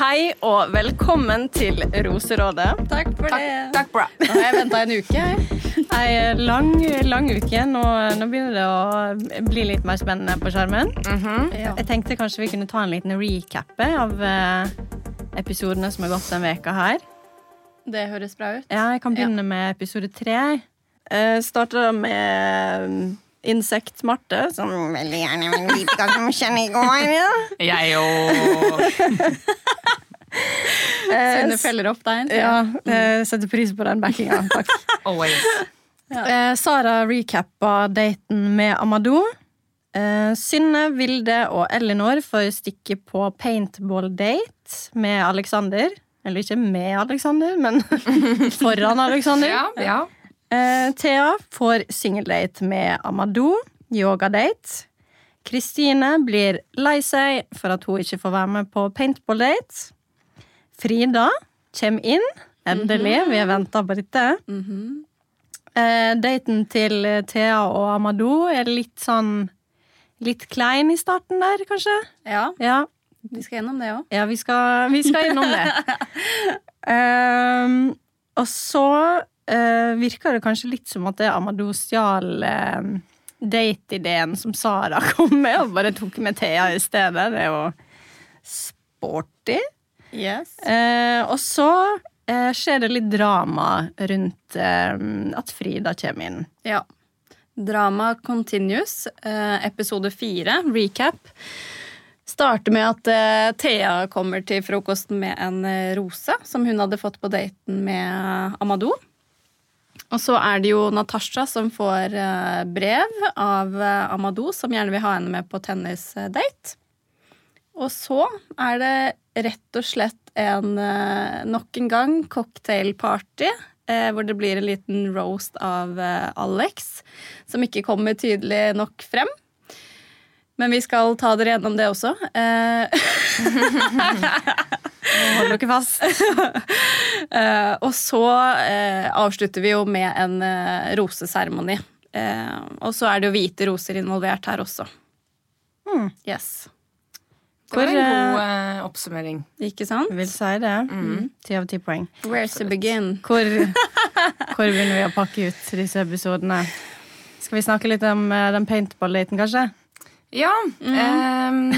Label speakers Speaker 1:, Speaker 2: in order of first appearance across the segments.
Speaker 1: Hei og velkommen til Roserådet. Takk for det.
Speaker 2: Takk, bra. Nå har jeg venta en uke. jeg.
Speaker 1: Ei lang, lang uke. Nå, nå begynner det å bli litt mer spennende på skjermen. Jeg tenkte kanskje vi kunne ta en liten recap av eh, episodene som har gått den veka her.
Speaker 2: Det høres bra ut.
Speaker 1: Ja, jeg kan begynne med episode tre. Uh, starter da med mm, Insekt-Marte, som veldig gjerne vil vite hva som skjedde i går. Ja.
Speaker 3: Jeg òg.
Speaker 2: Sunne feller opp deg.
Speaker 1: Ja, eh, setter pris på den backinga. Takk.
Speaker 3: Always.
Speaker 1: Eh, Sara recappa daten med Amadou. Eh, Synne, Vilde og Elinor får stikke på paintball-date med Alexander. Eller ikke med Alexander, men foran Alexander.
Speaker 3: Ja, ja.
Speaker 1: Eh, Thea får singeldate med Amadou. Yogadate. Kristine blir lei seg for at hun ikke får være med på paintball-date. Frida kommer inn. Endelig. Vi har venta på dette. eh, daten til eh, Thea og Amadou er litt sånn Litt klein i starten der, kanskje.
Speaker 2: Ja,
Speaker 1: Ja,
Speaker 2: Vi skal gjennom det òg.
Speaker 1: ja, vi skal, vi skal innom det. Ehm, og så eh, virker det kanskje litt som at det er Amadou stjal ehm, date-ideen som Sara kom med, og bare tok med Thea i stedet. Det er jo sporty.
Speaker 2: Yes.
Speaker 1: Eh, og så eh, skjer det litt drama rundt ehm, at Frida kommer inn.
Speaker 2: Ja. Drama continues. Eh, episode fire, recap. Starter med at eh, Thea kommer til frokosten med en eh, rose som hun hadde fått på daten med Amadou. Og så er det jo Natasha som får eh, brev av eh, Amadou, som gjerne vil ha henne med på tennisdate. Og så er det rett og slett en eh, nok en gang cocktailparty. eh, Hvor det blir en liten roast av eh, Alex, som ikke kommer tydelig nok frem. Men vi skal ta dere gjennom det også. Eh,
Speaker 1: Hold dere fast.
Speaker 2: eh, og så eh, avslutter vi jo med en eh, roseseremoni. Eh, og så er det jo hvite roser involvert her også. Yes.
Speaker 3: Det var
Speaker 1: Hvor,
Speaker 3: en god Mm. eh, oppsummering.
Speaker 2: Ikke sant?
Speaker 1: Vil si det. Mm, Ti av ti poeng.
Speaker 2: Where's to begin?
Speaker 1: Hvor, hvor begynner vi å pakke ut disse episodene? Skal vi snakke litt om eh, den paintball-daten, kanskje?
Speaker 3: Ja. ehm,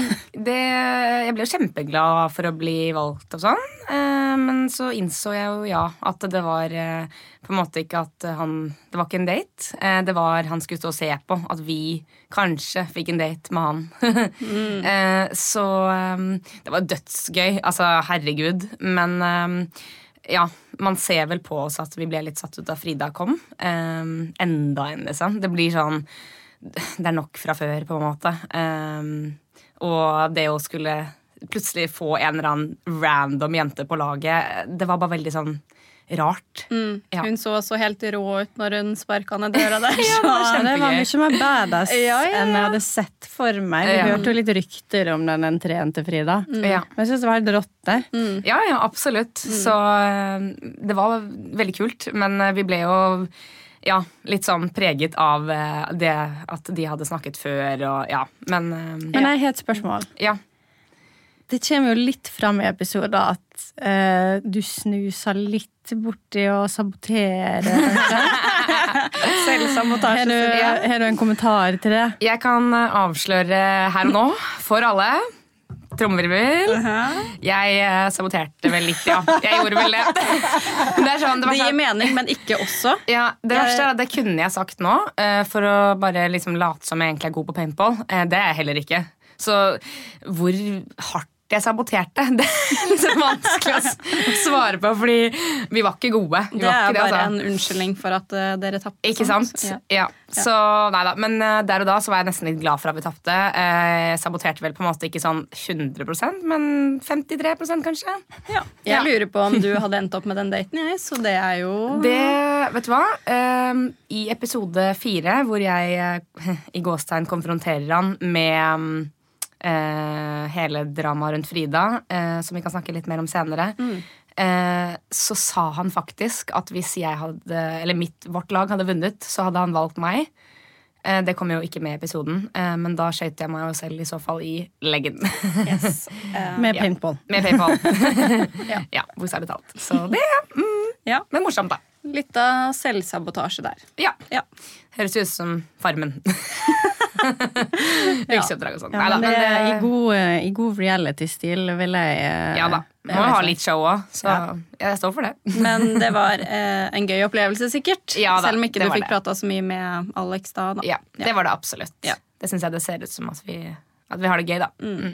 Speaker 3: det, jeg ble jo kjempeglad for å bli valgt og sånn. eh, men så innså jeg jo, ja, at det var eh, på en måte ikke at han Det var ikke en date. eh, det var han skulle stå og se på. At vi kanskje fikk en date med han. Eh, så ehm, det var dødsgøy. Altså, herregud. Men ehm, ja, man ser vel på oss at vi ble litt satt ut da Frida kom. Ehm, enda en, liksom. Det blir sånn det er nok fra før, på en måte. Ehm, og det å skulle plutselig få en eller annen random jente på laget, det var bare veldig sånn rart. Ja.
Speaker 2: Hun så så helt rå ut når hun sparka ned døra der.
Speaker 1: Ja, det var mye mer badass
Speaker 2: Ja, ja, ja.
Speaker 1: enn jeg hadde sett for meg. Vi
Speaker 3: Ja.
Speaker 1: hørte jo litt rykter om den entreen til Frida.
Speaker 3: Ja.
Speaker 1: Men jeg syns det var helt rått, det.
Speaker 3: Ja, ja, absolutt. Så eh, det var veldig kult. Men eh, vi ble jo ja, litt sånn preget av eh, det at de hadde snakket før og ja. Men eh,
Speaker 1: Men jeg har et spørsmål.
Speaker 3: ja.
Speaker 1: Det kommer jo litt fram i episoder at eh, du snuser litt borti å sabotere. Har du, har du en kommentar til det?
Speaker 3: Jeg kan eh, avsløre her og nå for alle. Trommevirvel. Jeg eh, saboterte vel litt, ja. Jeg gjorde vel det. Men Det, er sånn, det, var
Speaker 2: Det gir
Speaker 3: sånn,
Speaker 2: mening, men ikke også.
Speaker 3: ja, det verste er at det kunne jeg sagt nå, eh, for å bare liksom late som jeg egentlig er god på paintball. Eh, Det er jeg heller ikke. Så hvor hardt jeg saboterte. Det er liksom vanskelig å s- svare på, fordi vi var ikke gode. Vi
Speaker 2: Det
Speaker 3: var
Speaker 2: er
Speaker 3: ikke det,
Speaker 2: bare
Speaker 3: altså.
Speaker 2: en unnskyldning for at eh, dere tapte.
Speaker 3: Ikke sant? Ja.
Speaker 2: Ja.
Speaker 3: Så nei da. Men eh, der og da så var jeg nesten litt glad for at vi tapte. Eh, jeg saboterte vel på en måte ikke sånn 100 men 53 kanskje.
Speaker 2: Jeg lurer på om du hadde endt opp med den daten, jeg, så det er jo
Speaker 3: Det, vet du hva? Eh, I episode fire, hvor jeg eh, i gåstegn konfronterer han med eh, hele dramaet rundt Frida, eh, som vi kan snakke litt mer om senere,
Speaker 2: Mm.
Speaker 3: eh, så sa han faktisk at hvis jeg hadde, eller mitt, vårt lag hadde vunnet, så hadde han valgt meg. Eh, Det kom jo ikke med i episoden, eh, men da skøyt jeg meg jo selv i så fall i leggen.
Speaker 2: Yes. Eh,
Speaker 1: Med paintball.
Speaker 3: med PayPal.
Speaker 2: Ja.
Speaker 3: ja, bokstavelig talt. Så det mm,
Speaker 2: Ja.
Speaker 3: Men morsomt, da.
Speaker 2: Litt av selvsabotasje der.
Speaker 3: Ja.
Speaker 2: Ja.
Speaker 3: Høres ut som Farmen. Yrkesoppdrag og sånn.
Speaker 1: Ja,
Speaker 3: Neida,
Speaker 1: men det,
Speaker 3: men
Speaker 1: i,
Speaker 3: det,
Speaker 1: god, eh, I god reality-stil vil jeg eh,
Speaker 3: ja da. Må
Speaker 1: jeg
Speaker 3: jo ha
Speaker 1: vet
Speaker 3: litt show òg, så jeg står for det.
Speaker 2: Men det var eh, en gøy opplevelse, sikkert.
Speaker 3: Ja da,
Speaker 2: Selv om ikke
Speaker 3: det
Speaker 2: du
Speaker 3: var
Speaker 2: fikk
Speaker 3: det.
Speaker 2: prata så mye med Alex da. da.
Speaker 3: Ja, det var det absolutt.
Speaker 2: Ja.
Speaker 3: Det syns jeg det ser ut som at vi, at vi har det gøy, da. Mm.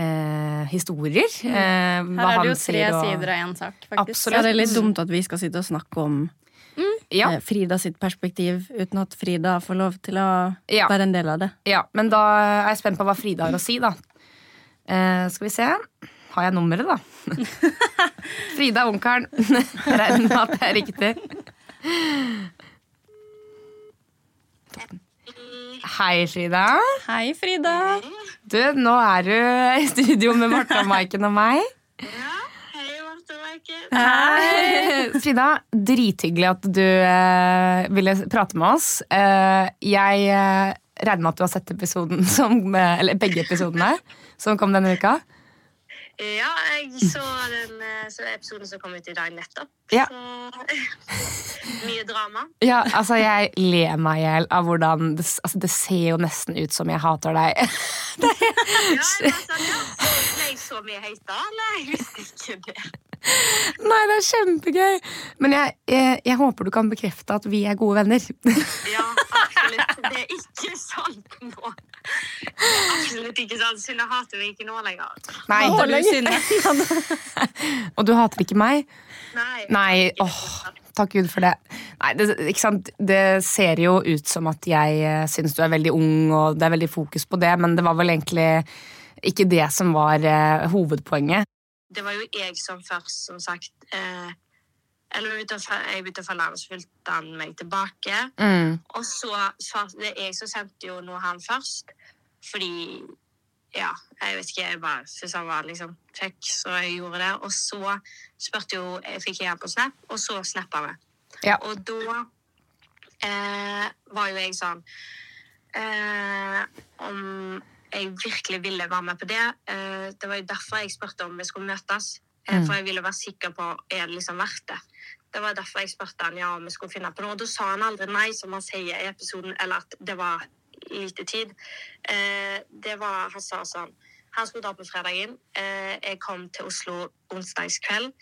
Speaker 3: eh, historier. eh, hva
Speaker 2: Mm. Her er
Speaker 3: han
Speaker 2: det jo tre
Speaker 3: sier og-
Speaker 2: sider av én sak, faktisk.
Speaker 3: Absolutt.
Speaker 1: Ja, det er litt dumt at vi skal sitte og snakke om
Speaker 3: Ja,
Speaker 1: eh, Frida sitt perspektiv uten at Frida får lov til å
Speaker 3: Ja.
Speaker 1: være en del av det.
Speaker 3: ja, men da er jeg spent på hva Frida har å si, da. Eh, skal vi se. Har jeg nummeret, da? Frida Ungkaren. Regner med at det er riktig. Hei, Frida.
Speaker 2: Hei, Frida.
Speaker 3: Du, nå er du i studio med Martha, Maiken og meg. Hei, Frida. Drithyggelig at du eh, ville prate med oss. Eh, jeg eh, regner med at du har sett episoden som, eh, eller begge episodene som kom denne uka.
Speaker 4: Ja, jeg så den eh, så episoden som kom ut i dag nettopp.
Speaker 3: Ja.
Speaker 4: Så mye drama.
Speaker 3: Ja, altså Jeg ler meg i hjel av hvordan det, s- altså, det ser jo nesten ut som jeg hater deg.
Speaker 4: Ja, jeg var sånn, ja, ble jeg så mye heita, eller? Jeg visste ikke det.
Speaker 3: Nei, det er kjempegøy! Men jeg, jeg, jeg håper du kan bekrefte at vi er gode venner.
Speaker 4: Ja, absolutt. Det er ikke sant nå. Det er Absolutt ikke sant. Synne hater meg ikke nå lenger.
Speaker 3: Nei,
Speaker 2: Hater du Synne?
Speaker 3: Og du hater ikke meg?
Speaker 4: Nei.
Speaker 3: Nei, åh, takk Gud for det. Nei, det, ikke sant? det ser jo ut som at jeg eh, syns du er veldig ung, og det er veldig fokus på det, men det var vel egentlig ikke det som var eh, hovedpoenget.
Speaker 4: Det var jo jeg som først, som sagt, eh, eller jeg begynte å fa- jeg begynte å falle av, og så fulgte han meg tilbake.
Speaker 3: Mm.
Speaker 4: Og så svarte det er jeg som sendte jo nå han først. Fordi Ja, jeg vet ikke. Jeg bare syntes han var liksom kjekk, så jeg gjorde det. Og så spurte jo jeg Fikk jeg han på Snap, og så snappa vi.
Speaker 3: Ja.
Speaker 4: Og da eh, var jo jeg sånn eh, Om jeg virkelig ville være med på det. Eh, det var jo derfor jeg spurte om vi skulle møtes. Eh, For jeg ville være sikker på er det liksom verdt det. Det var derfor jeg spurte han ja, om vi skulle finne på noe. Og da sa han aldri nei, som han sier i episoden, eller at det var lite tid. Eh, det var, Han sa sånn Han skulle dra på fredagen. Eh, jeg kom til Oslo onsdagskveld,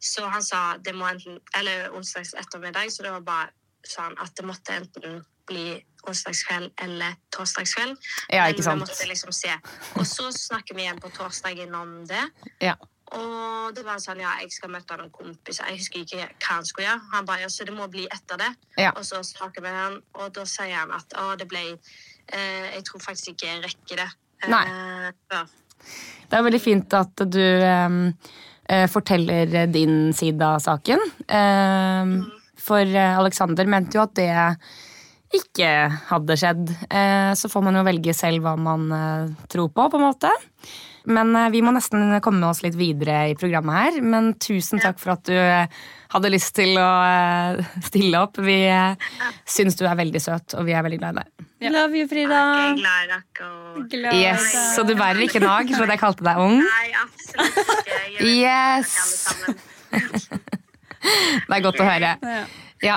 Speaker 4: så han sa det må enten Eller onsdags ettermiddag, så det var bare sa han at det måtte enten bli onsdagskveld eller torsdagskveld.
Speaker 3: Ja, ikke
Speaker 4: Men
Speaker 3: sant?
Speaker 4: vi måtte liksom se. Og så snakker vi igjen på torsdagen om det.
Speaker 3: Ja.
Speaker 4: Og det var sånn, ja, jeg skal møte noen kompiser. Jeg husker ikke hva han skulle gjøre. Han bare, ja, så det må bli etter det.
Speaker 3: Ja.
Speaker 4: Og så snakker vi med han, og da sier han at, å, det ble, eh, jeg tror faktisk ikke jeg rekker det. eh, før.
Speaker 3: Det er veldig fint at du em, eh, forteller din side av saken. Em, for eh, Alexander mente jo at det ikke hadde skjedd. Eh, så får man jo velge selv hva man eh, tror på, på en måte. Men eh, vi må nesten komme oss litt videre i programmet her. Men tusen takk for at du eh, hadde lyst til å eh, stille opp. Vi eh, syns du er veldig søt, og vi er veldig glad i deg.
Speaker 1: Love you, Frida!
Speaker 4: Jeg er glad i dere. og-
Speaker 3: Yes, Så du bærer ikke nag for at jeg kalte deg ung.
Speaker 4: Nei, absolutt ikke. Jeg er veldig glad i dere alle
Speaker 3: Yes!
Speaker 4: sammen.
Speaker 3: Det er godt å høre. Ja,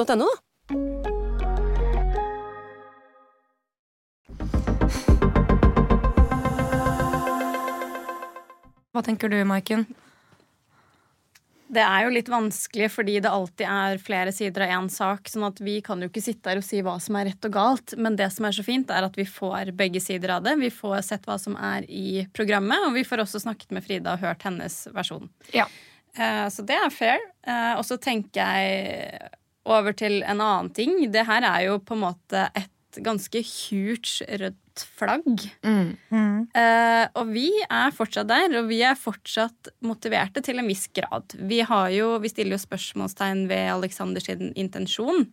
Speaker 5: da.
Speaker 3: Hva tenker du, Maiken?
Speaker 2: Det er jo litt vanskelig fordi det alltid er flere sider av én sak. sånn at vi kan jo ikke sitte her og si hva som er rett og galt. Men det som er så fint, er at vi får begge sider av det. Vi får sett hva som er i programmet, og vi får også snakket med Frida og hørt hennes versjon.
Speaker 3: Ja.
Speaker 2: Eh, Så det er fair. Eh, Og så tenker jeg over til en annen ting. Det her er jo på en måte et ganske huge rødt flagg. Eh, og vi er fortsatt der, og vi er fortsatt motiverte til en viss grad. Vi, har jo, vi stiller jo spørsmålstegn ved Aleksanders intensjon,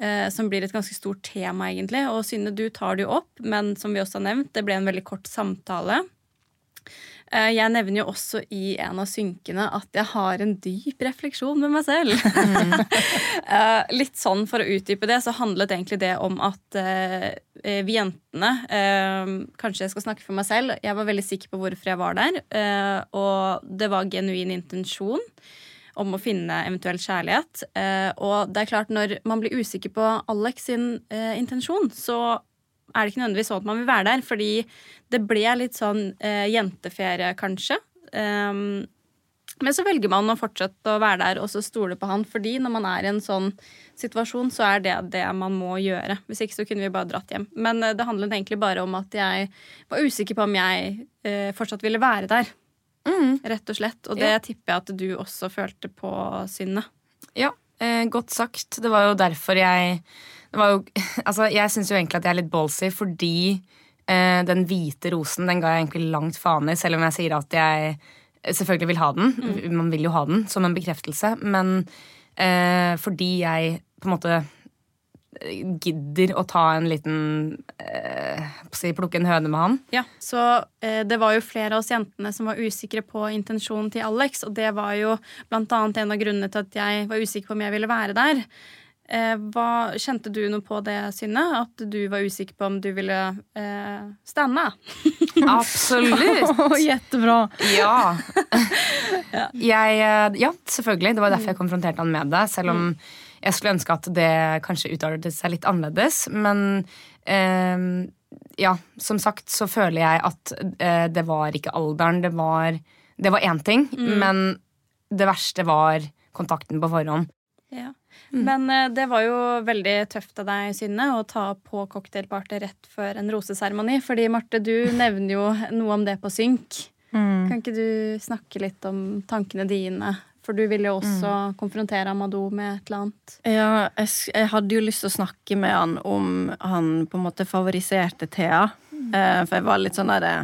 Speaker 2: eh, som blir et ganske stort tema, egentlig. Og Synne, du tar det jo opp, men som vi også har nevnt, det ble en veldig kort samtale. Eh, Jeg nevner jo også i en av synkene at jeg har en dyp refleksjon med meg selv. Eh, Litt sånn for å utdype det, så handlet egentlig det om at eh, vi jentene eh, Kanskje jeg skal snakke for meg selv. Jeg var veldig sikker på hvorfor jeg var der. eh, Og det var genuin intensjon om å finne eventuell kjærlighet. Eh, Og det er klart, når man blir usikker på Alex sin eh, intensjon, så er det ikke nødvendigvis sånn at man vil være der, fordi det ble litt sånn eh, jenteferie, kanskje. Ehm, men så velger man å fortsette å være der og så stole på han, fordi når man er i en sånn situasjon, så er det det man må gjøre. Hvis ikke så kunne vi bare dratt hjem. Men eh, det handlet egentlig bare om at jeg var usikker på om jeg eh, fortsatt ville være der. Rett og slett. Og det tipper jeg at du også følte på, Synne.
Speaker 3: Ja, eh, godt sagt. Det var jo derfor jeg det var jo, altså, Jeg syns jo egentlig at jeg er litt ballsy fordi eh, den hvite rosen den ga jeg egentlig langt faen i, selv om jeg sier at jeg selvfølgelig vil ha den. Man vil jo ha den som en bekreftelse, men eh, fordi jeg på en måte eh, gidder å ta en liten eh, si, Plukke en høne med han.
Speaker 2: Ja, så eh, Det var jo flere av oss jentene som var usikre på intensjonen til Alex. Og det var jo blant annet en av grunnene til at jeg var usikker på om jeg ville være der. Eh, hva, kjente du noe på det, Synne? At du var usikker på om du ville eh, stande?
Speaker 3: Absolutt!
Speaker 1: Jettebra.
Speaker 3: Ja. Jeg, eh, ja, selvfølgelig. Det var derfor jeg konfronterte han med det. Selv om jeg skulle ønske at det kanskje utartet seg litt annerledes. Men eh, ja, som sagt så føler jeg at eh, det var ikke alderen. Det var, det var én ting, men det verste var kontakten på forhånd.
Speaker 2: Ja.
Speaker 1: Mm.
Speaker 2: Men eh, det var jo veldig tøft av deg, Synne, å ta på cocktailparty rett før en roseseremoni. Fordi Marte, du nevner jo noe om det på synk.
Speaker 1: Mm.
Speaker 2: Kan ikke du snakke litt om tankene dine? For du ville jo også
Speaker 1: Mm.
Speaker 2: konfrontere Amadou med et eller annet.
Speaker 1: Ja, jeg, s- jeg hadde jo lyst til å snakke med han om han på en måte favoriserte Thea. Eh, for jeg var litt sånn derre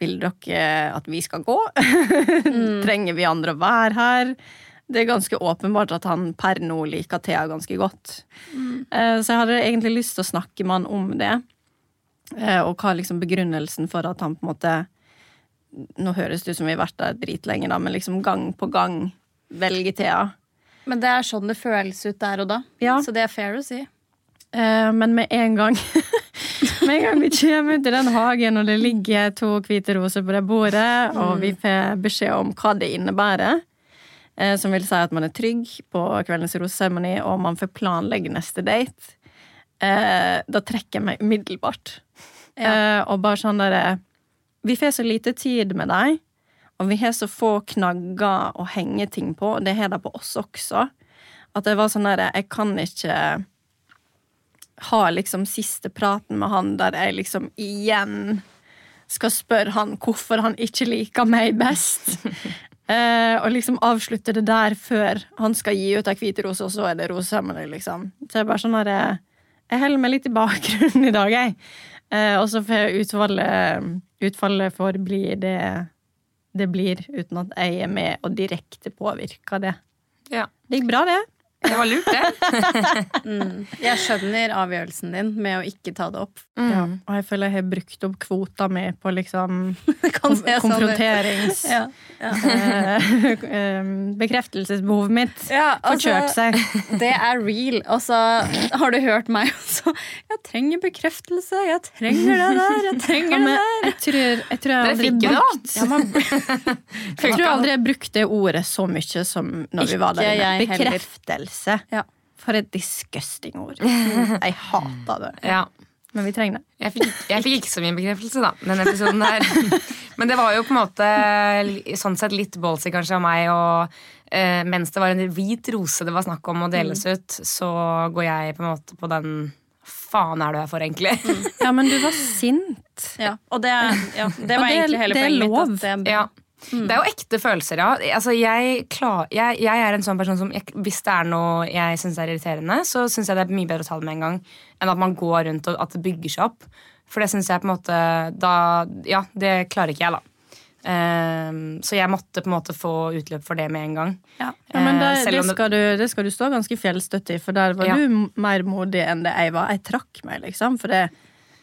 Speaker 1: Vil dere at vi skal gå? Trenger vi andre å være her? Det er ganske åpenbart at han per nå liker Thea ganske godt. Eh, så jeg hadde egentlig lyst til å snakke med han om det. Eh, og hva er liksom begrunnelsen for at han på en måte Nå høres det ut som vi har vært der dritlenge, da, men liksom gang på gang velger Thea.
Speaker 2: Men det er sånn det føles ut der og da.
Speaker 1: Ja.
Speaker 2: Så det er fair å si.
Speaker 1: Eh, men med en gang Med en gang vi kommer ut i den hagen, og det ligger to hvite roser på det bordet, og vi får beskjed om hva det innebærer, eh, som vil si at man er trygg på kveldens roseseremoni, og man får planlegge neste date, eh, da trekker jeg meg umiddelbart. Eh, og bare sånn derre Vi får så lite tid med deg, og vi har så få knagger å henge ting på, og det har de på oss også, at det var sånn derre Jeg kan ikke har liksom siste praten med han der jeg liksom igjen skal spørre han hvorfor han ikke liker meg best. Eh, og liksom avslutte det der før han skal gi ut ei hvit rose, og så er det roseseremoni, liksom. Så jeg bare sånn her, eh, Jeg holder meg litt i bakgrunnen i dag, jeg. Eh, og så får utfallet, utfallet får bli det det blir, uten at jeg er med og direkte påvirker det.
Speaker 3: Ja.
Speaker 1: Det gikk bra, det.
Speaker 3: Det var lurt, det.
Speaker 2: Jeg skjønner avgjørelsen din med å ikke ta det opp.
Speaker 1: Ja, og jeg føler jeg har brukt opp kvota mi på liksom
Speaker 2: Det kan se sånn ut.
Speaker 1: konfronterings...
Speaker 2: Ja.
Speaker 1: eh, eh, Bekreftelsesbehovet mitt
Speaker 2: Ja, altså-
Speaker 1: får kjørt seg.
Speaker 2: Det er real. Og så har du hørt meg også. Jeg trenger bekreftelse. Jeg trenger det der. Jeg
Speaker 1: Ja,
Speaker 2: trenger
Speaker 1: men
Speaker 2: det der.
Speaker 1: jeg tror, jeg tror jeg
Speaker 3: Dere
Speaker 1: aldri
Speaker 3: fikk jo det, da.
Speaker 1: Ja, men- jeg tror aldri jeg brukte det ordet så mye som når vi var der.
Speaker 2: Ikke
Speaker 1: inne.
Speaker 2: jeg heller.
Speaker 1: Bekreftelse.
Speaker 2: Ja.
Speaker 1: For et disgusting ord. Jeg hater det.
Speaker 3: Ja.
Speaker 1: Men vi trenger det.
Speaker 3: Jeg fikk, jeg fikk ikke så mye bekreftelse, da, den episoden her. Men det var jo på en måte sånn sett litt ballsy kanskje av meg. Og eh, mens det var en hvit rose det var snakk om å deles ut, så går jeg på en måte på den Faen er du her for, egentlig?
Speaker 1: Ja, men du var sint.
Speaker 2: Ja, og det, er, ja, det
Speaker 1: Og
Speaker 2: var
Speaker 1: det-
Speaker 2: egentlig hele
Speaker 1: det er
Speaker 2: poenget
Speaker 1: lov.
Speaker 2: mitt. At det,
Speaker 3: Ja.
Speaker 2: Mm.
Speaker 3: Det er jo ekte følelser, ja. Altså, jeg, klar, jeg, jeg er en sånn person som jeg, Hvis det er noe jeg syns er irriterende, så syns jeg det er mye bedre å ta det med en gang enn at man går rundt og at det bygger seg opp. For det syns jeg på en måte da, Ja, det klarer ikke jeg, da. Ehm, så jeg måtte på en måte få utløp for det med en gang.
Speaker 1: Ja, men
Speaker 3: Eh,
Speaker 1: det,
Speaker 3: selv
Speaker 1: det,
Speaker 3: om det-
Speaker 1: skal du, det skal du stå ganske fjellstøtt i, for der var
Speaker 3: Ja.
Speaker 1: du m- mer modig enn det jeg var. Jeg trakk meg, liksom, for det,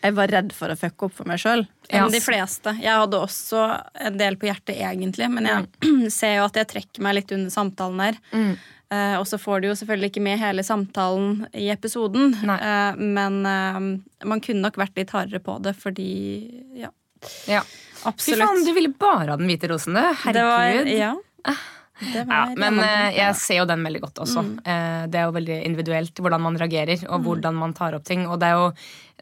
Speaker 1: jeg var redd for å fucke opp for meg sjøl.
Speaker 2: enn de fleste. Jeg hadde også en del på hjertet, egentlig, men jeg
Speaker 3: Mm.
Speaker 2: ser jo at jeg trekker meg litt under samtalen her. Eh, og så får du jo selvfølgelig ikke med hele samtalen i episoden,
Speaker 3: Nei.
Speaker 2: eh, men eh, man kunne nok vært litt hardere på det, fordi Ja,
Speaker 3: Ja. Fy
Speaker 2: absolutt.
Speaker 3: faen, du ville bare ha den hvite rosen, du.
Speaker 2: Det var-
Speaker 3: Herregud.
Speaker 2: ja. Det var
Speaker 3: Ja,
Speaker 2: en
Speaker 3: men
Speaker 2: annen
Speaker 3: eh,
Speaker 2: ting.
Speaker 3: jeg ser jo den veldig godt også. Eh, det er jo veldig individuelt hvordan man reagerer og hvordan man tar opp ting. Og det er jo,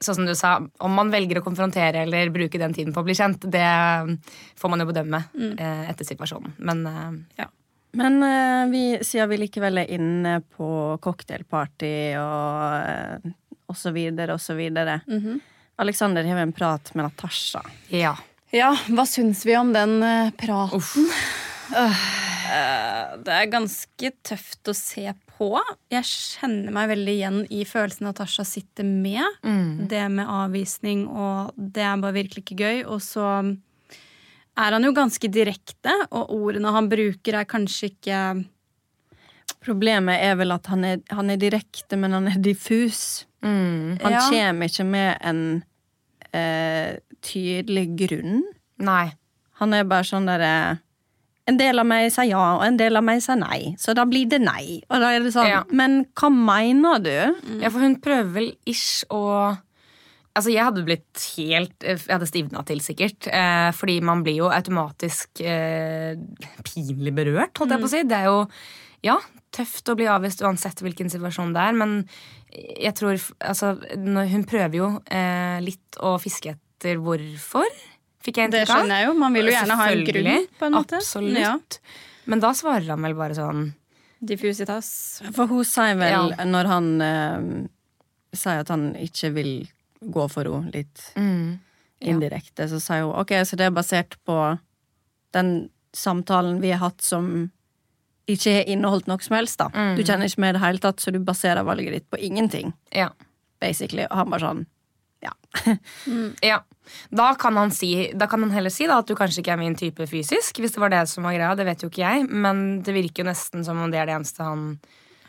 Speaker 3: sånn som du sa, om man velger å konfrontere eller bruke den tiden på å bli kjent, det får man jo bedømme eh, etter situasjonen. Men eh, ja.
Speaker 1: Men eh, vi, siden vi likevel er inne på cocktailparty og, eh, og så videre og så videre
Speaker 3: Mhm.
Speaker 1: Alexander har jo en prat med Natasha.
Speaker 3: ja.
Speaker 2: Ja, hva syns vi om den eh, praten? Eh, det er ganske tøft å se på. Jeg kjenner meg veldig igjen i følelsen Natasha sitter med.
Speaker 3: Mm.
Speaker 2: Det med avvisning, og det er bare virkelig ikke gøy. Og så er han jo ganske direkte, og ordene han bruker, er kanskje ikke
Speaker 1: Problemet er vel at han er, han er direkte, men han er diffus.
Speaker 3: Mm.
Speaker 1: Han
Speaker 2: Ja.
Speaker 1: kommer ikke med en eh, tydelig grunn.
Speaker 3: Nei.
Speaker 1: Han er bare sånn derre En del av meg sier ja, og en del av meg sier nei. Så da blir det nei. Og da er det sånn
Speaker 3: Ja.
Speaker 1: Men hva mener du?
Speaker 2: Mm.
Speaker 3: Ja, for hun prøver vel ish å Altså, jeg hadde blitt helt eh, Jeg hadde stivna til, sikkert. Eh, fordi man blir jo automatisk eh, pinlig berørt, holdt jeg
Speaker 2: Mm.
Speaker 3: på å si. Det er jo ja, tøft å bli avvist uansett hvilken situasjon det er, men jeg tror f- Altså, når hun prøver jo eh, litt å fiske etter hvorfor, fikk jeg
Speaker 2: Det
Speaker 3: inntrykk av.
Speaker 2: skjønner jeg jo. Man vil jo gjerne ha en grunn,
Speaker 3: Selvfølgelig.
Speaker 2: på en måte.
Speaker 3: Absolutt.
Speaker 2: Ja.
Speaker 3: Men da svarer han vel bare sånn
Speaker 2: Diffusitas.
Speaker 1: For hun sier vel,
Speaker 3: Ja.
Speaker 1: når han eh, sier at han ikke vil gå for henne litt indirekte, så sier hun ok, så det er basert på den samtalen vi har hatt som ikke har inneholdt noe som helst, da. Du kjenner ikke med i det hele tatt, så du baserer valget ditt på ingenting,
Speaker 3: Ja.
Speaker 1: basically. Og han bare sånn ja.
Speaker 3: Ja. Da kan han, si, da kan han heller si da, at du kanskje ikke er min type fysisk. Hvis det var det som var greia, det vet jo ikke jeg. Men det virker jo nesten som om det er det eneste han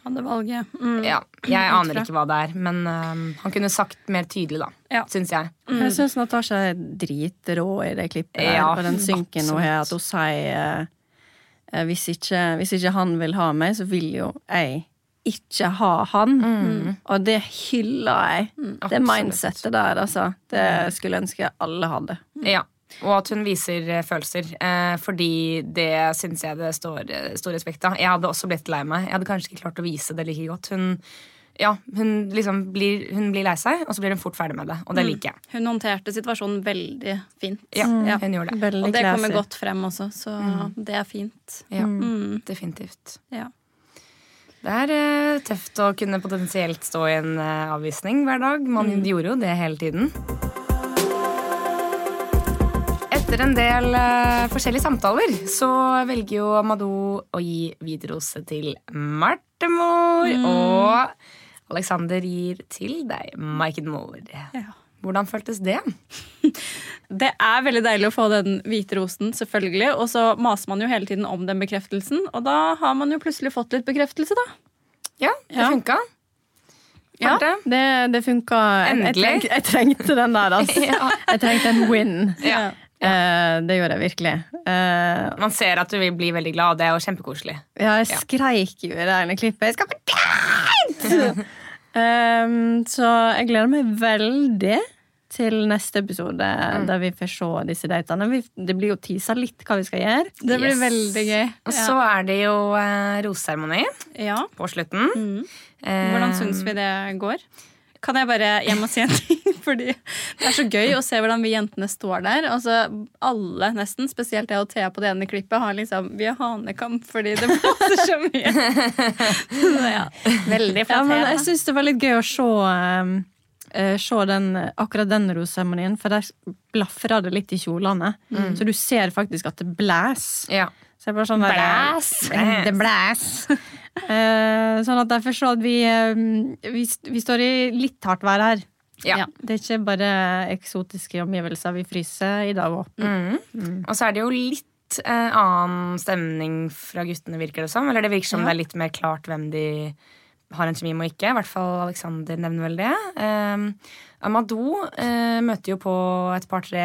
Speaker 2: Hadde valget. Mm.
Speaker 3: Ja, Jeg aner ikke hva det er, men øhm, han kunne sagt mer tydelig, da.
Speaker 2: Ja.
Speaker 3: Syns jeg.
Speaker 1: Jeg syns Natasha er dritrå i det klippet der.
Speaker 3: Ja,
Speaker 1: og den synken hun har, at hun sier eh, hvis, ikke, hvis ikke han vil ha meg, så vil jo jeg ikke ha han. Og det hyller jeg. Det
Speaker 3: absolutt.
Speaker 1: mindsettet der, altså. Det skulle jeg ønske alle hadde.
Speaker 3: Ja. Og at hun viser eh, følelser. eh, fordi det syns jeg det står eh, stor respekt av. Jeg hadde også blitt lei meg. Jeg hadde kanskje ikke klart å vise det like godt. Hun, ja, hun, liksom blir, hun blir lei seg, og så blir hun fort ferdig med det. Og det liker jeg.
Speaker 2: Hun håndterte situasjonen veldig fint. Mm.
Speaker 3: Ja, Hun gjorde det.
Speaker 1: Veldig
Speaker 2: Og det kommer
Speaker 1: classy. Mm.
Speaker 2: godt frem også, så det er fint.
Speaker 3: Ja, definitivt.
Speaker 2: Ja.
Speaker 3: Det er eh, tøft å kunne potensielt stå i en eh, avvisning hver dag. Man
Speaker 1: Mm.
Speaker 3: gjorde jo det hele tiden. Etter en del eh, forskjellige samtaler så velger jo Amadou å gi hvitrose til Martemor.
Speaker 1: Mm.
Speaker 3: Og Alexander gir til deg, Maikenmor. Hvordan føltes det?
Speaker 2: Det er veldig deilig å få den hvite rosen, selvfølgelig. Og så maser man jo hele tiden om den bekreftelsen, og da har man jo plutselig fått litt bekreftelse, da.
Speaker 3: Ja, det
Speaker 1: Ja.
Speaker 3: funka.
Speaker 1: Ja,
Speaker 3: Hørte?
Speaker 1: det, det funka. Jeg, jeg,
Speaker 3: Endelig.
Speaker 1: treng, jeg trengte den der, altså. Jeg trengte en win.
Speaker 3: Ja.
Speaker 1: Eh, det gjorde jeg virkelig. Eh,
Speaker 3: Man ser at du vil bli veldig glad, og det er jo kjempekoselig.
Speaker 1: ja, jeg skreik jo i det ene klippet. Jeg skal på date! Ehm, så jeg gleder meg veldig til neste episode,
Speaker 2: Mm.
Speaker 1: der vi får se disse datene. Vi, det blir jo tisa litt hva vi skal gjøre.
Speaker 2: Det blir
Speaker 3: Yes.
Speaker 2: veldig gøy.
Speaker 3: Og så er det jo eh, roseseremoni
Speaker 2: Ja.
Speaker 3: på slutten.
Speaker 2: Mm.
Speaker 3: Eh,
Speaker 2: Hvordan syns vi det går? Kan jeg bare Jeg må si en ting, fordi det er så gøy å se hvordan vi jentene står der. Altså, alle, nesten, spesielt jeg og Thea på det ene klippet, har liksom Vi har hanekamp fordi det blåser så mye. Så ja, veldig
Speaker 1: Ja,
Speaker 2: flott.
Speaker 1: men
Speaker 2: Thea.
Speaker 1: jeg syns det var litt gøy å se, ehm, eh, se den, akkurat den roseseremonien, for der blafra det litt i kjolene.
Speaker 3: Mm.
Speaker 1: Så du ser faktisk at det blæs.
Speaker 3: Ja.
Speaker 1: Så det er bare sånn der-
Speaker 3: Blæs!
Speaker 1: Det blæs! Eh, sånn at derfor så at vi, ehm, vi, st- vi står i litt hardt vær her.
Speaker 3: Ja.
Speaker 1: Det er ikke bare eksotiske omgivelser vi fryser i dag òg.
Speaker 3: Og så er det jo litt eh, annen stemning fra guttene, virker det som. Eller det virker som det er litt mer klart hvem de har en kjemi med og ikke. I hvert fall Alexander nevner vel det. Um, Amadou eh, møter jo på et par-tre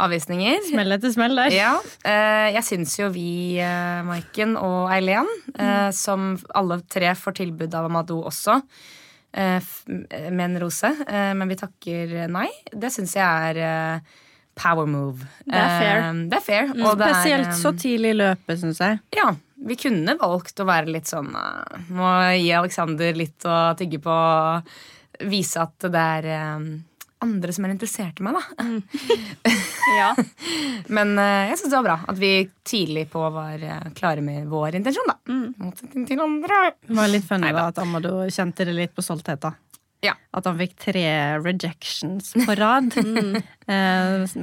Speaker 3: avvisninger.
Speaker 1: Smell etter smell der.
Speaker 3: Ja, eh, jeg syns jo vi, eh, Maiken og Eileen, eh, som alle tre får tilbud av Amadou også, eh, f- med en rose, eh, men vi takker nei. Det syns jeg er eh, power move.
Speaker 2: Det er fair.
Speaker 3: Eh, det er fair. og det er,
Speaker 1: Spesielt
Speaker 3: eh,
Speaker 1: så tidlig i løpet, syns jeg.
Speaker 3: Ja, vi kunne valgt å være litt sånn eh, Må gi Alexander litt å tygge på. Vise at det er eh, andre som er interessert i meg, da.
Speaker 2: Ja.
Speaker 3: Men eh, jeg syns det var bra at vi tidlig på var eh, klare med vår intensjon, da. Motsetning til andre.
Speaker 1: Det var litt funny da, at Amado kjente det litt på stoltheten.
Speaker 3: Ja.
Speaker 1: At han fikk tre rejections på rad. Eh,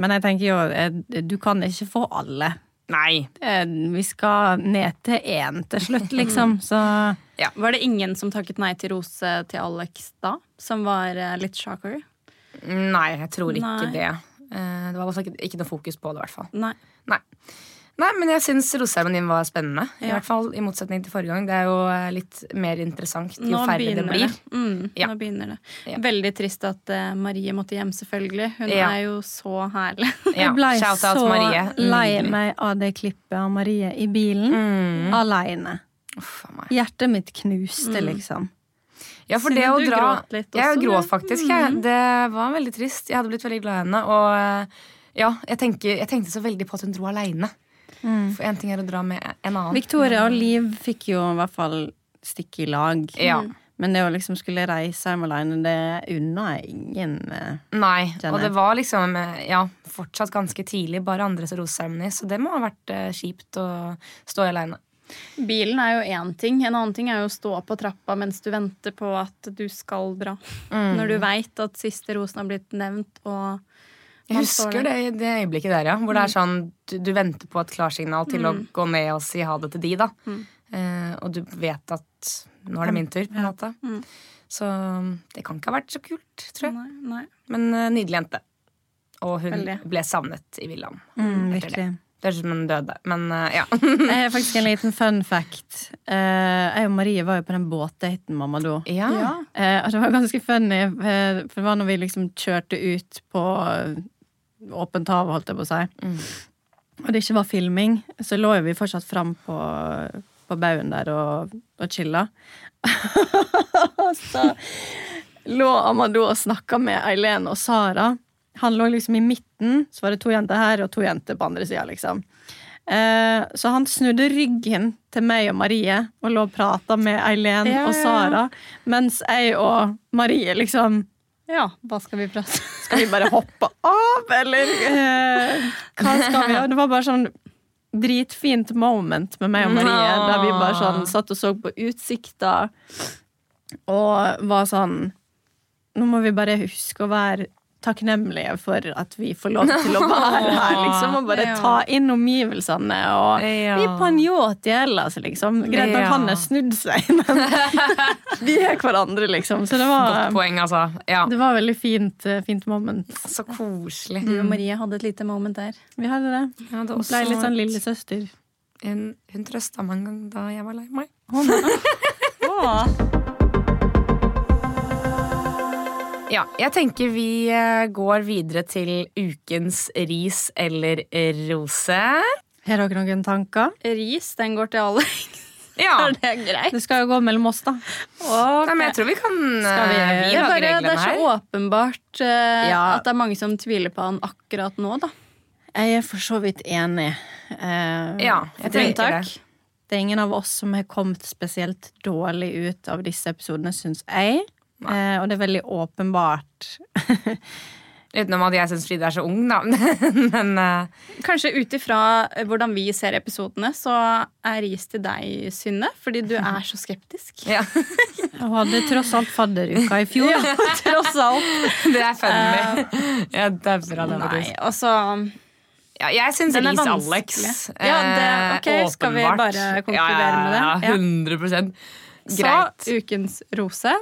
Speaker 1: Men jeg tenker jo, eh, du kan ikke få alle.
Speaker 3: Nei.
Speaker 1: Eh, Vi skal ned til én til slutt, liksom.
Speaker 3: Mm.
Speaker 1: Så
Speaker 2: Var det ingen som takket nei til rose til Alex da? Som var eh, litt shocker?
Speaker 3: Nei, jeg tror ikke
Speaker 2: Nei.
Speaker 3: det. Eh, Det var i hvert fall ikke, ikke noe fokus på det, i hvert fall.
Speaker 2: Nei.
Speaker 3: Nei. Nei, men jeg syns roseseremonien var spennende. I
Speaker 2: Ja.
Speaker 3: hvert fall i motsetning til forrige gang. Det er jo eh, litt mer interessant jo
Speaker 2: Nå
Speaker 3: færre det
Speaker 2: begynner
Speaker 3: blir.
Speaker 2: Mm,
Speaker 3: Ja.
Speaker 2: Nå begynner det.
Speaker 3: Ja.
Speaker 2: Veldig trist at eh, Marie måtte hjem, selvfølgelig. Hun
Speaker 3: Ja.
Speaker 2: er jo så herlig.
Speaker 3: Ja.
Speaker 1: jeg ble
Speaker 3: Shout
Speaker 1: så
Speaker 3: out Marie. Mm.
Speaker 1: lei
Speaker 3: Nydelig.
Speaker 1: meg av det klippet av Marie i bilen.
Speaker 3: Mm.
Speaker 1: Aleine.
Speaker 3: Uff, a meg.
Speaker 1: Hjertet mitt knuste,
Speaker 3: Mm.
Speaker 1: liksom.
Speaker 3: Ja, for
Speaker 2: Synd
Speaker 3: det å
Speaker 2: du
Speaker 3: dra
Speaker 2: gråt litt
Speaker 3: Jeg
Speaker 2: også, Mm. du.
Speaker 3: gråt faktisk, jeg. Det var veldig trist. Jeg hadde blitt veldig glad i henne. Og eh, ja, jeg, tenker, jeg tenkte så veldig på at hun dro aleine.
Speaker 2: Mm.
Speaker 3: For én ting er å dra med en annen.
Speaker 1: Victoria og Liv fikk jo i hvert fall stikke i lag.
Speaker 3: Ja.
Speaker 1: Men det å liksom skulle reise hjem alene, det unna jeg ingen eh,
Speaker 3: Nei, og
Speaker 1: Skjønner.
Speaker 3: det var liksom eh, ja, fortsatt ganske tidlig, bare andres roseseremoni, så det må ha vært eh, kjipt å stå aleine.
Speaker 2: Bilen er jo én ting. En annen ting er jo å stå på trappa mens du venter på at du skal dra.
Speaker 3: Mm.
Speaker 2: Når du veit at siste rosen har blitt nevnt, og
Speaker 3: Jeg
Speaker 2: man står
Speaker 3: husker det,
Speaker 2: der.
Speaker 3: det øyeblikket der, ja. Hvor det er sånn du, du venter på et klarsignal til å gå ned og si ha det til de, da. Eh, og du vet at nå er det min tur, på en måte. Så um, det kan ikke ha vært så kult, tror jeg.
Speaker 2: Nei, nei.
Speaker 3: Men eh, nydelig jente. Og hun
Speaker 2: Veldig.
Speaker 3: ble savnet i villaen. etter det.
Speaker 1: Mm, virkelig.
Speaker 3: Det høres ut som hun døde, men eh, ja.
Speaker 1: Jeg har faktisk en liten fun fact. Eh, jeg og Marie var jo på den båtdaten, mamma, da.
Speaker 3: ja.
Speaker 1: Eh, og det var ganske funny, eh, for det var når vi liksom kjørte ut på eh, åpent hav, holdt jeg på å si, og det ikke var filming, så lå jo vi fortsatt fram på, på baugen der og, og chilla. så lå Amadou og snakka med Eileen og Sara. Han lå liksom i midten, så var det to jenter her og to jenter på andre sida, liksom. Eh, så han snudde ryggen til meg og Marie og lå og prata med Eileen
Speaker 2: Ja, ja, ja.
Speaker 1: og Sara, mens jeg og Marie liksom
Speaker 2: Ja, hva skal vi prate om?
Speaker 1: Skal vi bare hoppe av, eller eh, hva skal vi gjøre? Det var bare sånn dritfint moment med meg og Marie,
Speaker 3: Nå.
Speaker 1: der vi bare sånn satt og så på utsikta og var sånn Nå må vi bare huske å være takknemlige for at vi får lov til å være her, liksom, og bare
Speaker 2: Ja.
Speaker 1: ta inn omgivelsene og
Speaker 3: Ja.
Speaker 1: Vi er på en yacht i Hellas, liksom. Greit nok,
Speaker 3: Ja.
Speaker 1: han har snudd seg, men vi er hverandre, liksom. Så det var
Speaker 3: Godt poeng, altså. Ja.
Speaker 1: det var veldig fint, eh, fint moment.
Speaker 3: Så koselig.
Speaker 2: Du og Marie hadde et lite moment der.
Speaker 1: Vi hadde det.
Speaker 3: Jeg hadde
Speaker 1: Hun ble
Speaker 3: også
Speaker 1: litt sånn
Speaker 3: et-
Speaker 1: lillesøster.
Speaker 3: Hun, hun trøsta meg en gang da jeg var lei meg.
Speaker 1: Å, nei. Å, Ja.
Speaker 3: Ja, jeg tenker vi eh, går videre til ukens ris eller rose.
Speaker 1: Har dere noen tanker?
Speaker 2: Ris, den går til alle.
Speaker 3: Ja,
Speaker 2: Er det greit?
Speaker 1: Det skal jo gå mellom oss, da.
Speaker 3: Nei, men jeg tror vi kan eh,
Speaker 1: Skal vi-
Speaker 3: vi
Speaker 2: Det er,
Speaker 3: lager
Speaker 2: bare, det
Speaker 3: reglene
Speaker 2: er
Speaker 3: her.
Speaker 2: så åpenbart eh,
Speaker 1: Ja.
Speaker 2: at det er mange som tviler på han akkurat nå, da.
Speaker 1: Jeg er for så vidt enig. Eh,
Speaker 3: Ja, jeg tenker det.
Speaker 2: Unntak.
Speaker 1: Det er ingen av oss som har kommet spesielt dårlig ut av disse episodene, syns jeg. Eh, og det er veldig åpenbart.
Speaker 3: Utenom at jeg syns Frida er så ung, da. Men eh,
Speaker 2: Kanskje ut ifra eh, hvordan vi ser episodene, så er ris til deg, Synne. Fordi du er så skeptisk.
Speaker 3: ja,
Speaker 1: Hun hadde tross alt fadderuka i fjor.
Speaker 2: Tross alt.
Speaker 3: det er
Speaker 2: Eh.
Speaker 3: funny. Ja, det er bra, det,
Speaker 2: Nei,
Speaker 3: faktisk.
Speaker 2: altså
Speaker 3: Ja, jeg syns
Speaker 2: Den er
Speaker 3: Ris
Speaker 2: vanskelig.
Speaker 3: Alex.
Speaker 2: Ja, det-
Speaker 3: eh,
Speaker 2: ok, skal vi
Speaker 3: åpenbart.
Speaker 2: bare konkludere med det?
Speaker 3: Ja,
Speaker 2: Ja.
Speaker 3: 100 Greit.
Speaker 2: Så ukens rose.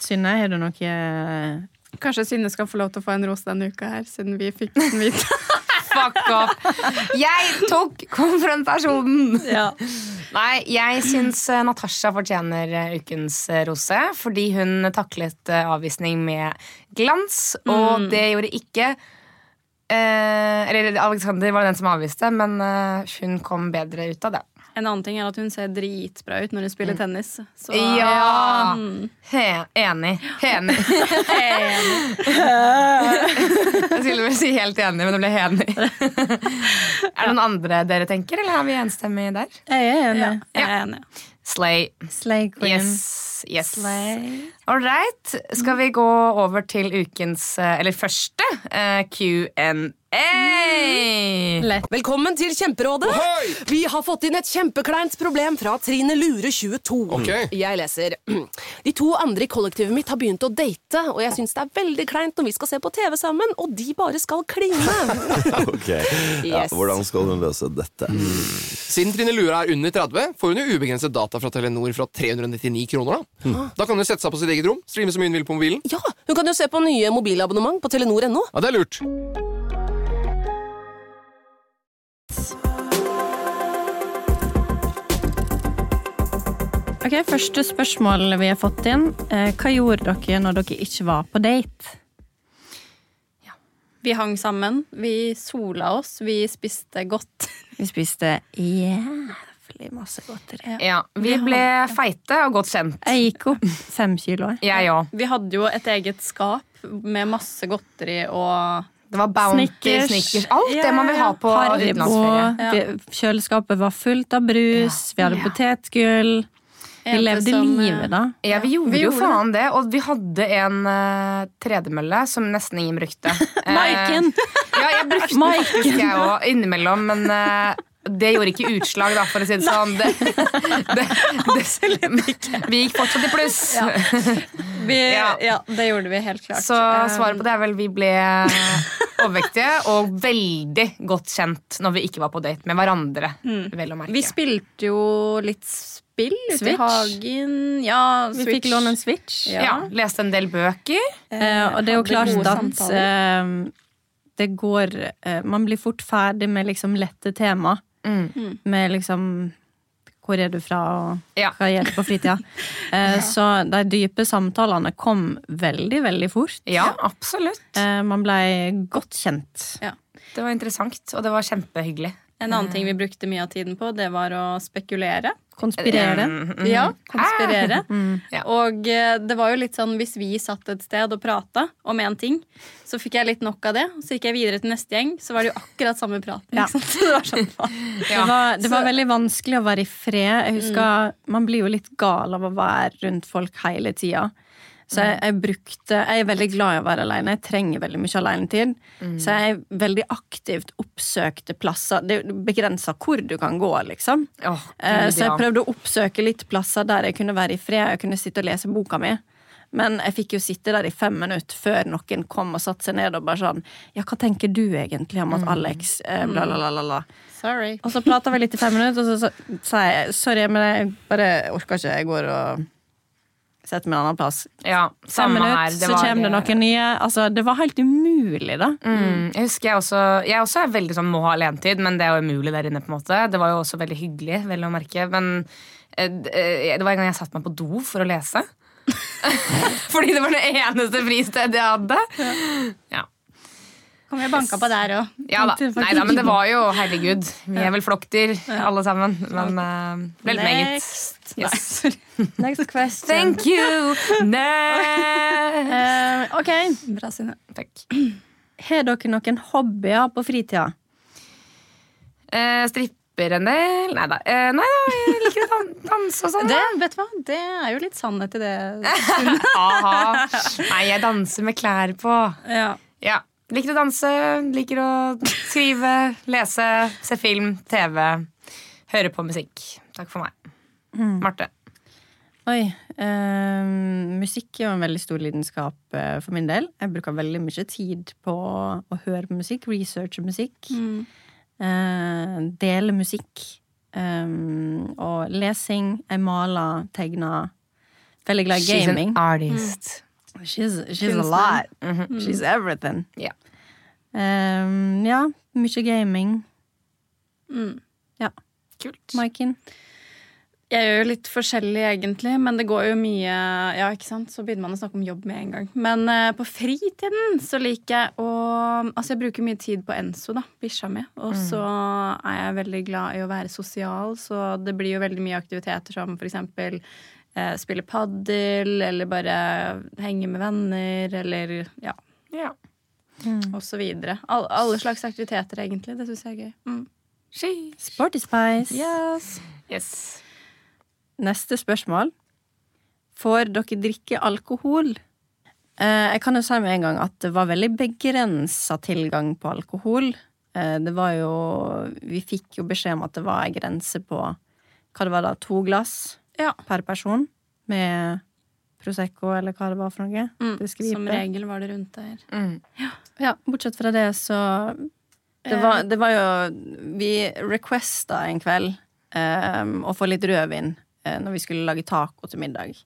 Speaker 1: Synne, har du noe eh,
Speaker 2: Kanskje Synne skal få lov til å få en rose denne uka her, siden vi fikk den hvite.
Speaker 3: Fuck off! Jeg tok konfrontasjonen! Nei, jeg syns eh, Natasha fortjener eh, ukens eh, rose, fordi hun taklet eh, avvisning med glans,
Speaker 2: Mm.
Speaker 3: og det gjorde ikke eh, Eller Alexander var den som avviste, men eh, hun kom bedre ut av det.
Speaker 2: En annen ting er at hun ser dritbra ut når hun spiller tennis. Så
Speaker 3: Ja.
Speaker 2: Mm.
Speaker 3: He, enig. Enig. Jeg skulle vel si helt enig, men det ble enig. Er det noen andre dere tenker, eller er vi enstemmige der?
Speaker 1: Jeg er enig.
Speaker 2: Jeg er enig.
Speaker 3: Slay.
Speaker 1: Slay queen.
Speaker 3: Yes. yes. All right. Skal vi gå over til ukens, eh, eller første, eh, Q&A?
Speaker 5: Velkommen til Kjemperådet. Vi har fått inn et kjempekleint problem fra Trine Lure 22.
Speaker 6: Ok.
Speaker 5: Jeg leser. De to andre i kollektivet mitt har begynt å date, og jeg syns det er veldig kleint når vi skal se på TV sammen, og de bare skal kline.
Speaker 7: Ok, ja,
Speaker 5: Yes. Mm.
Speaker 7: Hvordan skal hun løse dette?
Speaker 6: Siden Trine Lure er under 30, får hun jo ubegrenset data fra Telenor fra 399 kroner. Da Da kan hun sette seg på sitt eget rom, streame så mye hun vil på mobilen.
Speaker 5: Ja, hun kan jo se på nye mobilabonnement på telenor.no.
Speaker 6: Ja, Det er lurt.
Speaker 1: Ok, Første spørsmål vi har fått inn. Eh, hva gjorde dere når dere ikke var på date?
Speaker 2: Vi hang sammen, vi sola oss, vi spiste godt.
Speaker 1: Vi spiste jævlig masse godteri.
Speaker 3: Ja, vi ble feite og godt kjent.
Speaker 1: Jeg gikk opp fem kilo. jeg.
Speaker 3: Jeg òg.
Speaker 2: Vi hadde jo et eget skap med masse godteri og
Speaker 3: Det var Bounty, Snickers,
Speaker 1: Snickers.
Speaker 3: alt det man vil ha på
Speaker 1: Haribo.
Speaker 3: utenlandsferie.
Speaker 1: Vi- Kjøleskapet var fullt av brus. Vi hadde potetgull. Vi
Speaker 2: Jente
Speaker 1: levde
Speaker 2: som, eh,
Speaker 1: livet, da.
Speaker 3: Ja, vi gjorde,
Speaker 2: vi
Speaker 3: jo
Speaker 2: gjorde
Speaker 3: faen det. Og vi hadde en eh, tredemølle som nesten ingen brukte. Eh,
Speaker 1: Maiken!
Speaker 3: Ja, jeg brukte den faktisk jeg òg innimellom, men eh, det gjorde ikke utslag, da, for å si det sånn. Det, det, det, vi gikk fortsatt i pluss.
Speaker 2: vi,
Speaker 3: Ja.
Speaker 2: ja. det gjorde vi helt klart. Eh,
Speaker 3: Så svaret på det er vel vi ble overvektige og veldig godt kjent når vi ikke var på date med hverandre. Vel å
Speaker 2: Vi
Speaker 3: merke.
Speaker 2: spilte jo litt spill ute i
Speaker 1: Switch.
Speaker 2: hagen. Ja,
Speaker 1: Vi
Speaker 2: Switch.
Speaker 1: fikk låne en switch.
Speaker 2: Ja.
Speaker 3: Ja. leste en del bøker.
Speaker 1: Eh, og det er jo
Speaker 2: Hadde
Speaker 1: klart
Speaker 2: gode
Speaker 1: at
Speaker 2: samtaler.
Speaker 1: eh, det går eh, Man blir fort ferdig med liksom lette tema.
Speaker 2: Mm.
Speaker 1: Med liksom Hvor er du fra, og
Speaker 3: Ja.
Speaker 1: hva gjør du på fritida? Eh, Så de dype samtalene kom veldig, veldig fort.
Speaker 3: Ja, absolutt.
Speaker 1: Eh, Man blei godt kjent.
Speaker 3: Det var interessant, og det var kjempehyggelig.
Speaker 2: En annen ting vi brukte mye av tiden på, det var å spekulere. Eh,
Speaker 1: Konspirere.
Speaker 2: Ja, konspirere.
Speaker 3: Mm-hmm. Ah! Mm, Ja.
Speaker 2: Og eh, det var jo litt sånn hvis vi satt et sted og prata om én ting, så fikk jeg litt nok av det. Så gikk jeg videre til neste gjeng, så var det jo akkurat samme praten.
Speaker 1: Ja.
Speaker 2: Ikke sant? Så det var sånn,
Speaker 1: Det var, det var veldig vanskelig å være i fred. Jeg husker, Man blir jo litt gal av å være rundt folk hele tida. Så jeg, jeg brukte Jeg er veldig glad i å være alene. Jeg trenger veldig mye alenetid. Så jeg veldig aktivt oppsøkte plasser. Det begrensa hvor du kan gå, liksom.
Speaker 3: Åh,
Speaker 1: Eh,
Speaker 3: Gud,
Speaker 1: Så jeg
Speaker 3: ja.
Speaker 1: prøvde å oppsøke litt plasser der jeg kunne være i fred. Jeg kunne sitte og lese boka mi. Men jeg fikk jo sitte der i fem minutter før noen kom og satte seg ned og bare sånn Ja, hva tenker du egentlig om at Alex eh, bla, bla, bla, bla, bla.
Speaker 2: sorry.
Speaker 1: Og så prata vi litt i fem minutter, og så sa jeg sorry, men jeg bare orka ikke. Jeg går og Sett meg en annen plass.
Speaker 3: Ja,
Speaker 1: Fem
Speaker 3: samme her.
Speaker 1: minutter,
Speaker 3: Det
Speaker 1: så
Speaker 3: var- eh,
Speaker 1: kommer det noen nye. Altså, det var helt umulig, da.
Speaker 3: Mm, jeg husker jeg også Jeg også er veldig sånn må ha alentid, men det er jo umulig der inne. på en måte Det var jo også veldig hyggelig, vel å merke. Men eh, d- eh, det var en gang jeg satte meg på do for å lese. Fordi det var det eneste fristedet jeg hadde. Ja,
Speaker 2: Kom, jeg banka på der òg.
Speaker 3: ja da. Nei da, men det var jo herregud. Vi er vel flokter, alle sammen. Men uh, vel meget.
Speaker 1: Next.
Speaker 3: Yes.
Speaker 1: Next question.
Speaker 3: Thank you! Next.
Speaker 1: Eh, ok,
Speaker 2: Bra, Synne.
Speaker 3: Takk.
Speaker 1: Har dere noen hobbyer på fritida?
Speaker 3: Eh, stripper en del Nei da. Eh, nei da, jeg liker å dan danse og sånn.
Speaker 2: Det, vet du hva? det er jo litt sannhet i det.
Speaker 3: Aha. Nei, jeg danser med klær på.
Speaker 2: Ja.
Speaker 3: Ja. Liker å danse, liker å skrive, lese, se film, TV. Høre på musikk. Takk for meg. Marte.
Speaker 1: Oi, eh, Musikk er jo en veldig stor lidenskap eh, for min del. Jeg bruker veldig mye tid på å høre på musikk, researche musikk.
Speaker 3: Mm.
Speaker 1: eh, dele musikk. eh, og lesing. Jeg maler, tegner. Veldig glad i gaming.
Speaker 3: artist.
Speaker 1: She's, she's a lot. Mm-hmm. She's everything.
Speaker 3: Ja.
Speaker 1: Eh, ja, mye gaming. Ja.
Speaker 3: Kult.
Speaker 1: Maiken?
Speaker 2: Jeg gjør jo litt forskjellig, egentlig, men det går jo mye Ja, ikke sant? Så begynner man å snakke om jobb med en gang. Men eh, på fritiden så liker jeg å Altså, jeg bruker mye tid på Enso, da. Bikkja mi. Og
Speaker 1: Mm.
Speaker 2: så er jeg veldig glad i å være sosial, så det blir jo veldig mye aktiviteter som for eksempel eh, spille padel, eller bare henge med venner, eller ja,
Speaker 3: Ja.
Speaker 1: Mm.
Speaker 2: og så videre. Al alle slags aktiviteter, egentlig. Det syns jeg er gøy. Mm.
Speaker 3: Sheesh.
Speaker 1: Sporty Spice.
Speaker 3: Yes.
Speaker 1: Neste spørsmål. Får dere drikke alkohol? Eh, jeg kan jo si med en gang at det var veldig begrensa tilgang på alkohol. Eh, det var jo Vi fikk jo beskjed om at det var ei grense på hva det var da, to glass
Speaker 2: Ja.
Speaker 1: per person med Prosecco eller hva det var for noe. Det skal vi
Speaker 2: Som
Speaker 1: på.
Speaker 2: regel var det rundt der.
Speaker 3: Mm.
Speaker 1: Ja, bortsett fra det, så Det var, det var jo Vi requesta en kveld em, å få litt rødvin eh, når vi skulle lage taco til middag.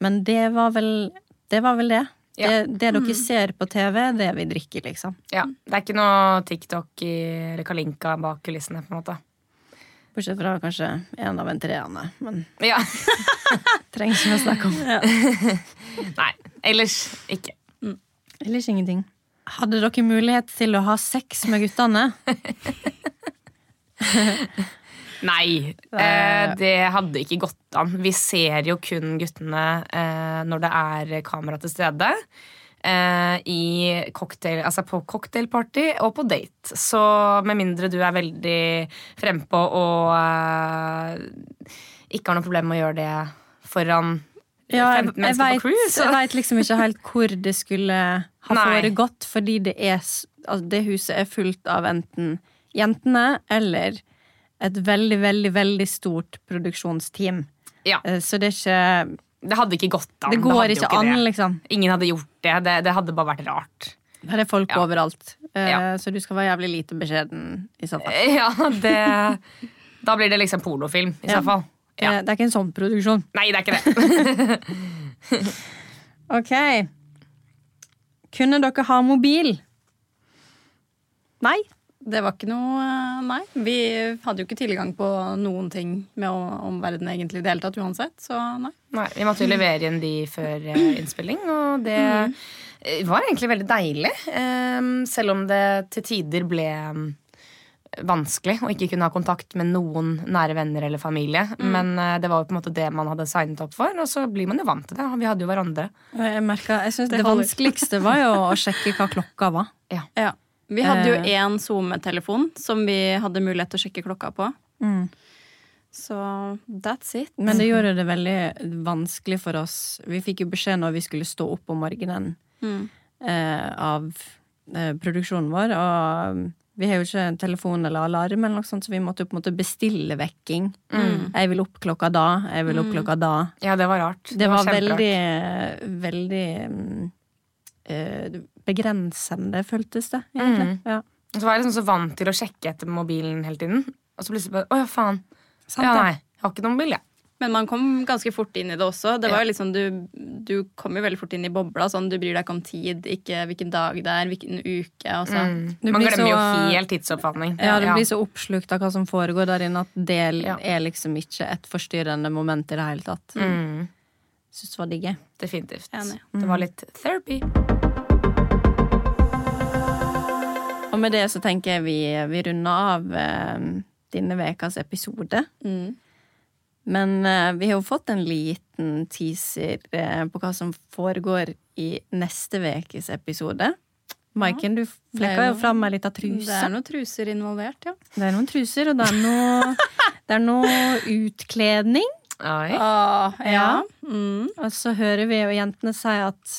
Speaker 1: Men det var vel det. Var vel det.
Speaker 3: Ja.
Speaker 1: det, det dere ser på TV, er det vi drikker, liksom.
Speaker 3: Ja. Det er ikke noe TikTok i, eller Kalinka bak kulissene, på en måte.
Speaker 1: Bortsett fra kanskje en av entreene. Men
Speaker 3: Ja.
Speaker 1: trenger ikke å snakke om.
Speaker 3: Nei. Ellers ikke.
Speaker 1: Ellers ingenting. Hadde dere mulighet til å ha sex med guttene?
Speaker 3: Nei, eh, det hadde ikke gått an. Vi ser jo kun guttene eh, når det er kamera til stede. Eh, I cocktail, altså på cocktailparty og på date. Så med mindre du er veldig frempå og eh, ikke har noe problem med å gjøre det foran
Speaker 1: Ja, jeg,
Speaker 3: 15
Speaker 1: jeg,
Speaker 3: mennesker
Speaker 1: vet,
Speaker 3: på cruise.
Speaker 1: jeg vet liksom ikke helt hvor det skulle ha
Speaker 3: Nei.
Speaker 1: foregått, fordi det, er, s- altså det huset er fullt av enten jentene eller et veldig, veldig, veldig stort produksjonsteam.
Speaker 3: Ja,
Speaker 1: Eh, Så det er ikke
Speaker 3: det hadde ikke gått an.
Speaker 1: Det
Speaker 3: hadde
Speaker 1: går
Speaker 3: jo
Speaker 1: ikke an,
Speaker 3: det.
Speaker 1: liksom.
Speaker 3: Ingen hadde gjort det. det. Det hadde bare vært rart.
Speaker 1: Her er folk
Speaker 3: Ja.
Speaker 1: overalt. Eh,
Speaker 3: Ja. Eh,
Speaker 1: Så du skal være jævlig lite beskjeden i så fall.
Speaker 3: Ja, det Da blir det liksom pornofilm, i
Speaker 1: Ja.
Speaker 3: så fall. Ja.
Speaker 1: Eh, Det er ikke en sånn produksjon.
Speaker 3: Nei, det er ikke det.
Speaker 1: Ok. Kunne dere ha mobil? Nei.
Speaker 2: Det var ikke noe eh, Nei. Vi hadde jo ikke tilgang på noen ting med om- omverdenen egentlig i det hele tatt uansett, så nei.
Speaker 3: Nei, Vi måtte jo levere inn de før eh, innspilling, og det
Speaker 1: Mhm.
Speaker 3: eh, var egentlig veldig deilig. eh, Selv om det til tider ble eh, vanskelig å ikke kunne ha kontakt med noen nære venner eller familie.
Speaker 1: Mm.
Speaker 3: Men eh, det var jo på en måte det man hadde signet opp for, og så blir man jo vant til det. og Vi hadde jo hverandre.
Speaker 1: Jeg merket, jeg synes det,
Speaker 2: holder.
Speaker 1: vanskeligste var jo å sjekke hva klokka var.
Speaker 2: Ja. Vi hadde jo
Speaker 1: Eh.
Speaker 2: én SoMe-telefon som vi hadde mulighet til å sjekke klokka på. Så that's it.
Speaker 1: Mm. Men det gjorde det veldig vanskelig for oss. Vi fikk jo beskjed når vi skulle stå opp om morgenen eh, av eh, produksjonen vår, og um, vi har jo ikke en telefon eller alarm, eller noe sånt, så vi måtte jo på en måte bestille vekking. Jeg vil opp klokka da, jeg vil opp klokka da.
Speaker 3: Ja, det var rart.
Speaker 1: Mm. Det var
Speaker 3: kjemperart.
Speaker 1: veldig, veldig mm, eh, begrensende, føltes det, egentlig. Ja.
Speaker 3: Og Så var jeg liksom så vant til å sjekke etter mobilen hele tiden, og så plutselig bare Å ja, faen.
Speaker 1: Sant
Speaker 3: ja,
Speaker 1: det.
Speaker 3: nei, jeg har ikke noen mobil, jeg.
Speaker 2: Men man kom ganske fort inn i det også. Det var jo liksom, du, du kom jo veldig fort inn i bobla. Sånn, du bryr deg ikke om tid, ikke hvilken dag det er, hvilken uke. Altså.
Speaker 1: Du
Speaker 3: Man
Speaker 1: blir
Speaker 3: glemmer jo
Speaker 1: så-
Speaker 3: helt tidsoppfatning.
Speaker 1: Ja, du blir så oppslukt av hva som foregår der inne, at det er liksom ikke et forstyrrende moment i det hele tatt.
Speaker 3: Mm,
Speaker 1: Syns det var digg. jeg.
Speaker 3: definitivt.
Speaker 2: Enig.
Speaker 3: Det var litt therapy.
Speaker 1: Og med det så tenker jeg vi, vi runder av eh, denne ukas episode.
Speaker 2: Mm.
Speaker 1: Men eh, vi har jo fått en liten teaser eh, på hva som foregår i neste ukes episode. Maiken, du
Speaker 2: Det er
Speaker 1: flekka
Speaker 2: jo-
Speaker 1: jo fram ei lita
Speaker 2: Det er
Speaker 1: truse.
Speaker 2: noen truser involvert, ja.
Speaker 1: Det er noen truser, og det er noe, det er noe utkledning.
Speaker 3: Oi.
Speaker 2: Ah, ja.
Speaker 1: Ja.
Speaker 2: Mm.
Speaker 1: Og så hører vi jo jentene si at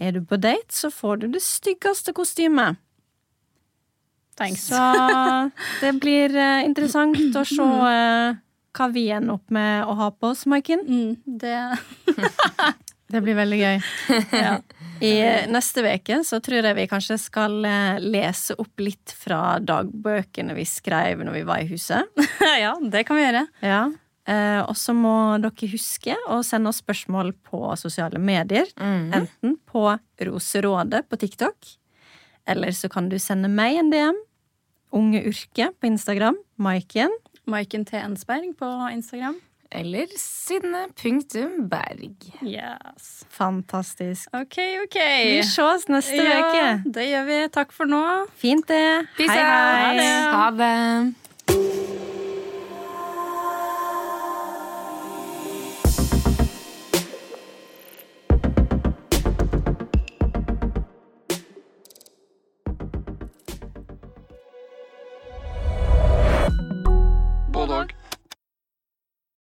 Speaker 1: er du på date, så får du det styggeste kostymet.
Speaker 2: Thanks.
Speaker 1: Så det blir eh, interessant å se eh, hva vi ender opp med å ha på oss, Maiken.
Speaker 2: Mm, det
Speaker 1: Det blir veldig gøy. I eh, neste uke så tror jeg vi kanskje skal eh, lese opp litt fra dagbøkene vi skrev når vi var i huset.
Speaker 2: Ja, det kan vi gjøre.
Speaker 1: Ja. Eh, og så må dere huske å sende oss spørsmål på sosiale medier. Enten på Roserådet på TikTok, eller så kan du sende meg en DM. Unge Urke på Instagram. Maiken.
Speaker 2: Maiken T. Ensberg på Instagram.
Speaker 3: Eller Synne.berg.
Speaker 2: Yes.
Speaker 1: Fantastisk.
Speaker 2: OK, OK.
Speaker 1: Vi ses neste uke.
Speaker 2: Ja, det gjør vi. Takk for nå.
Speaker 1: Fint, det.
Speaker 3: Peace out. Ha det.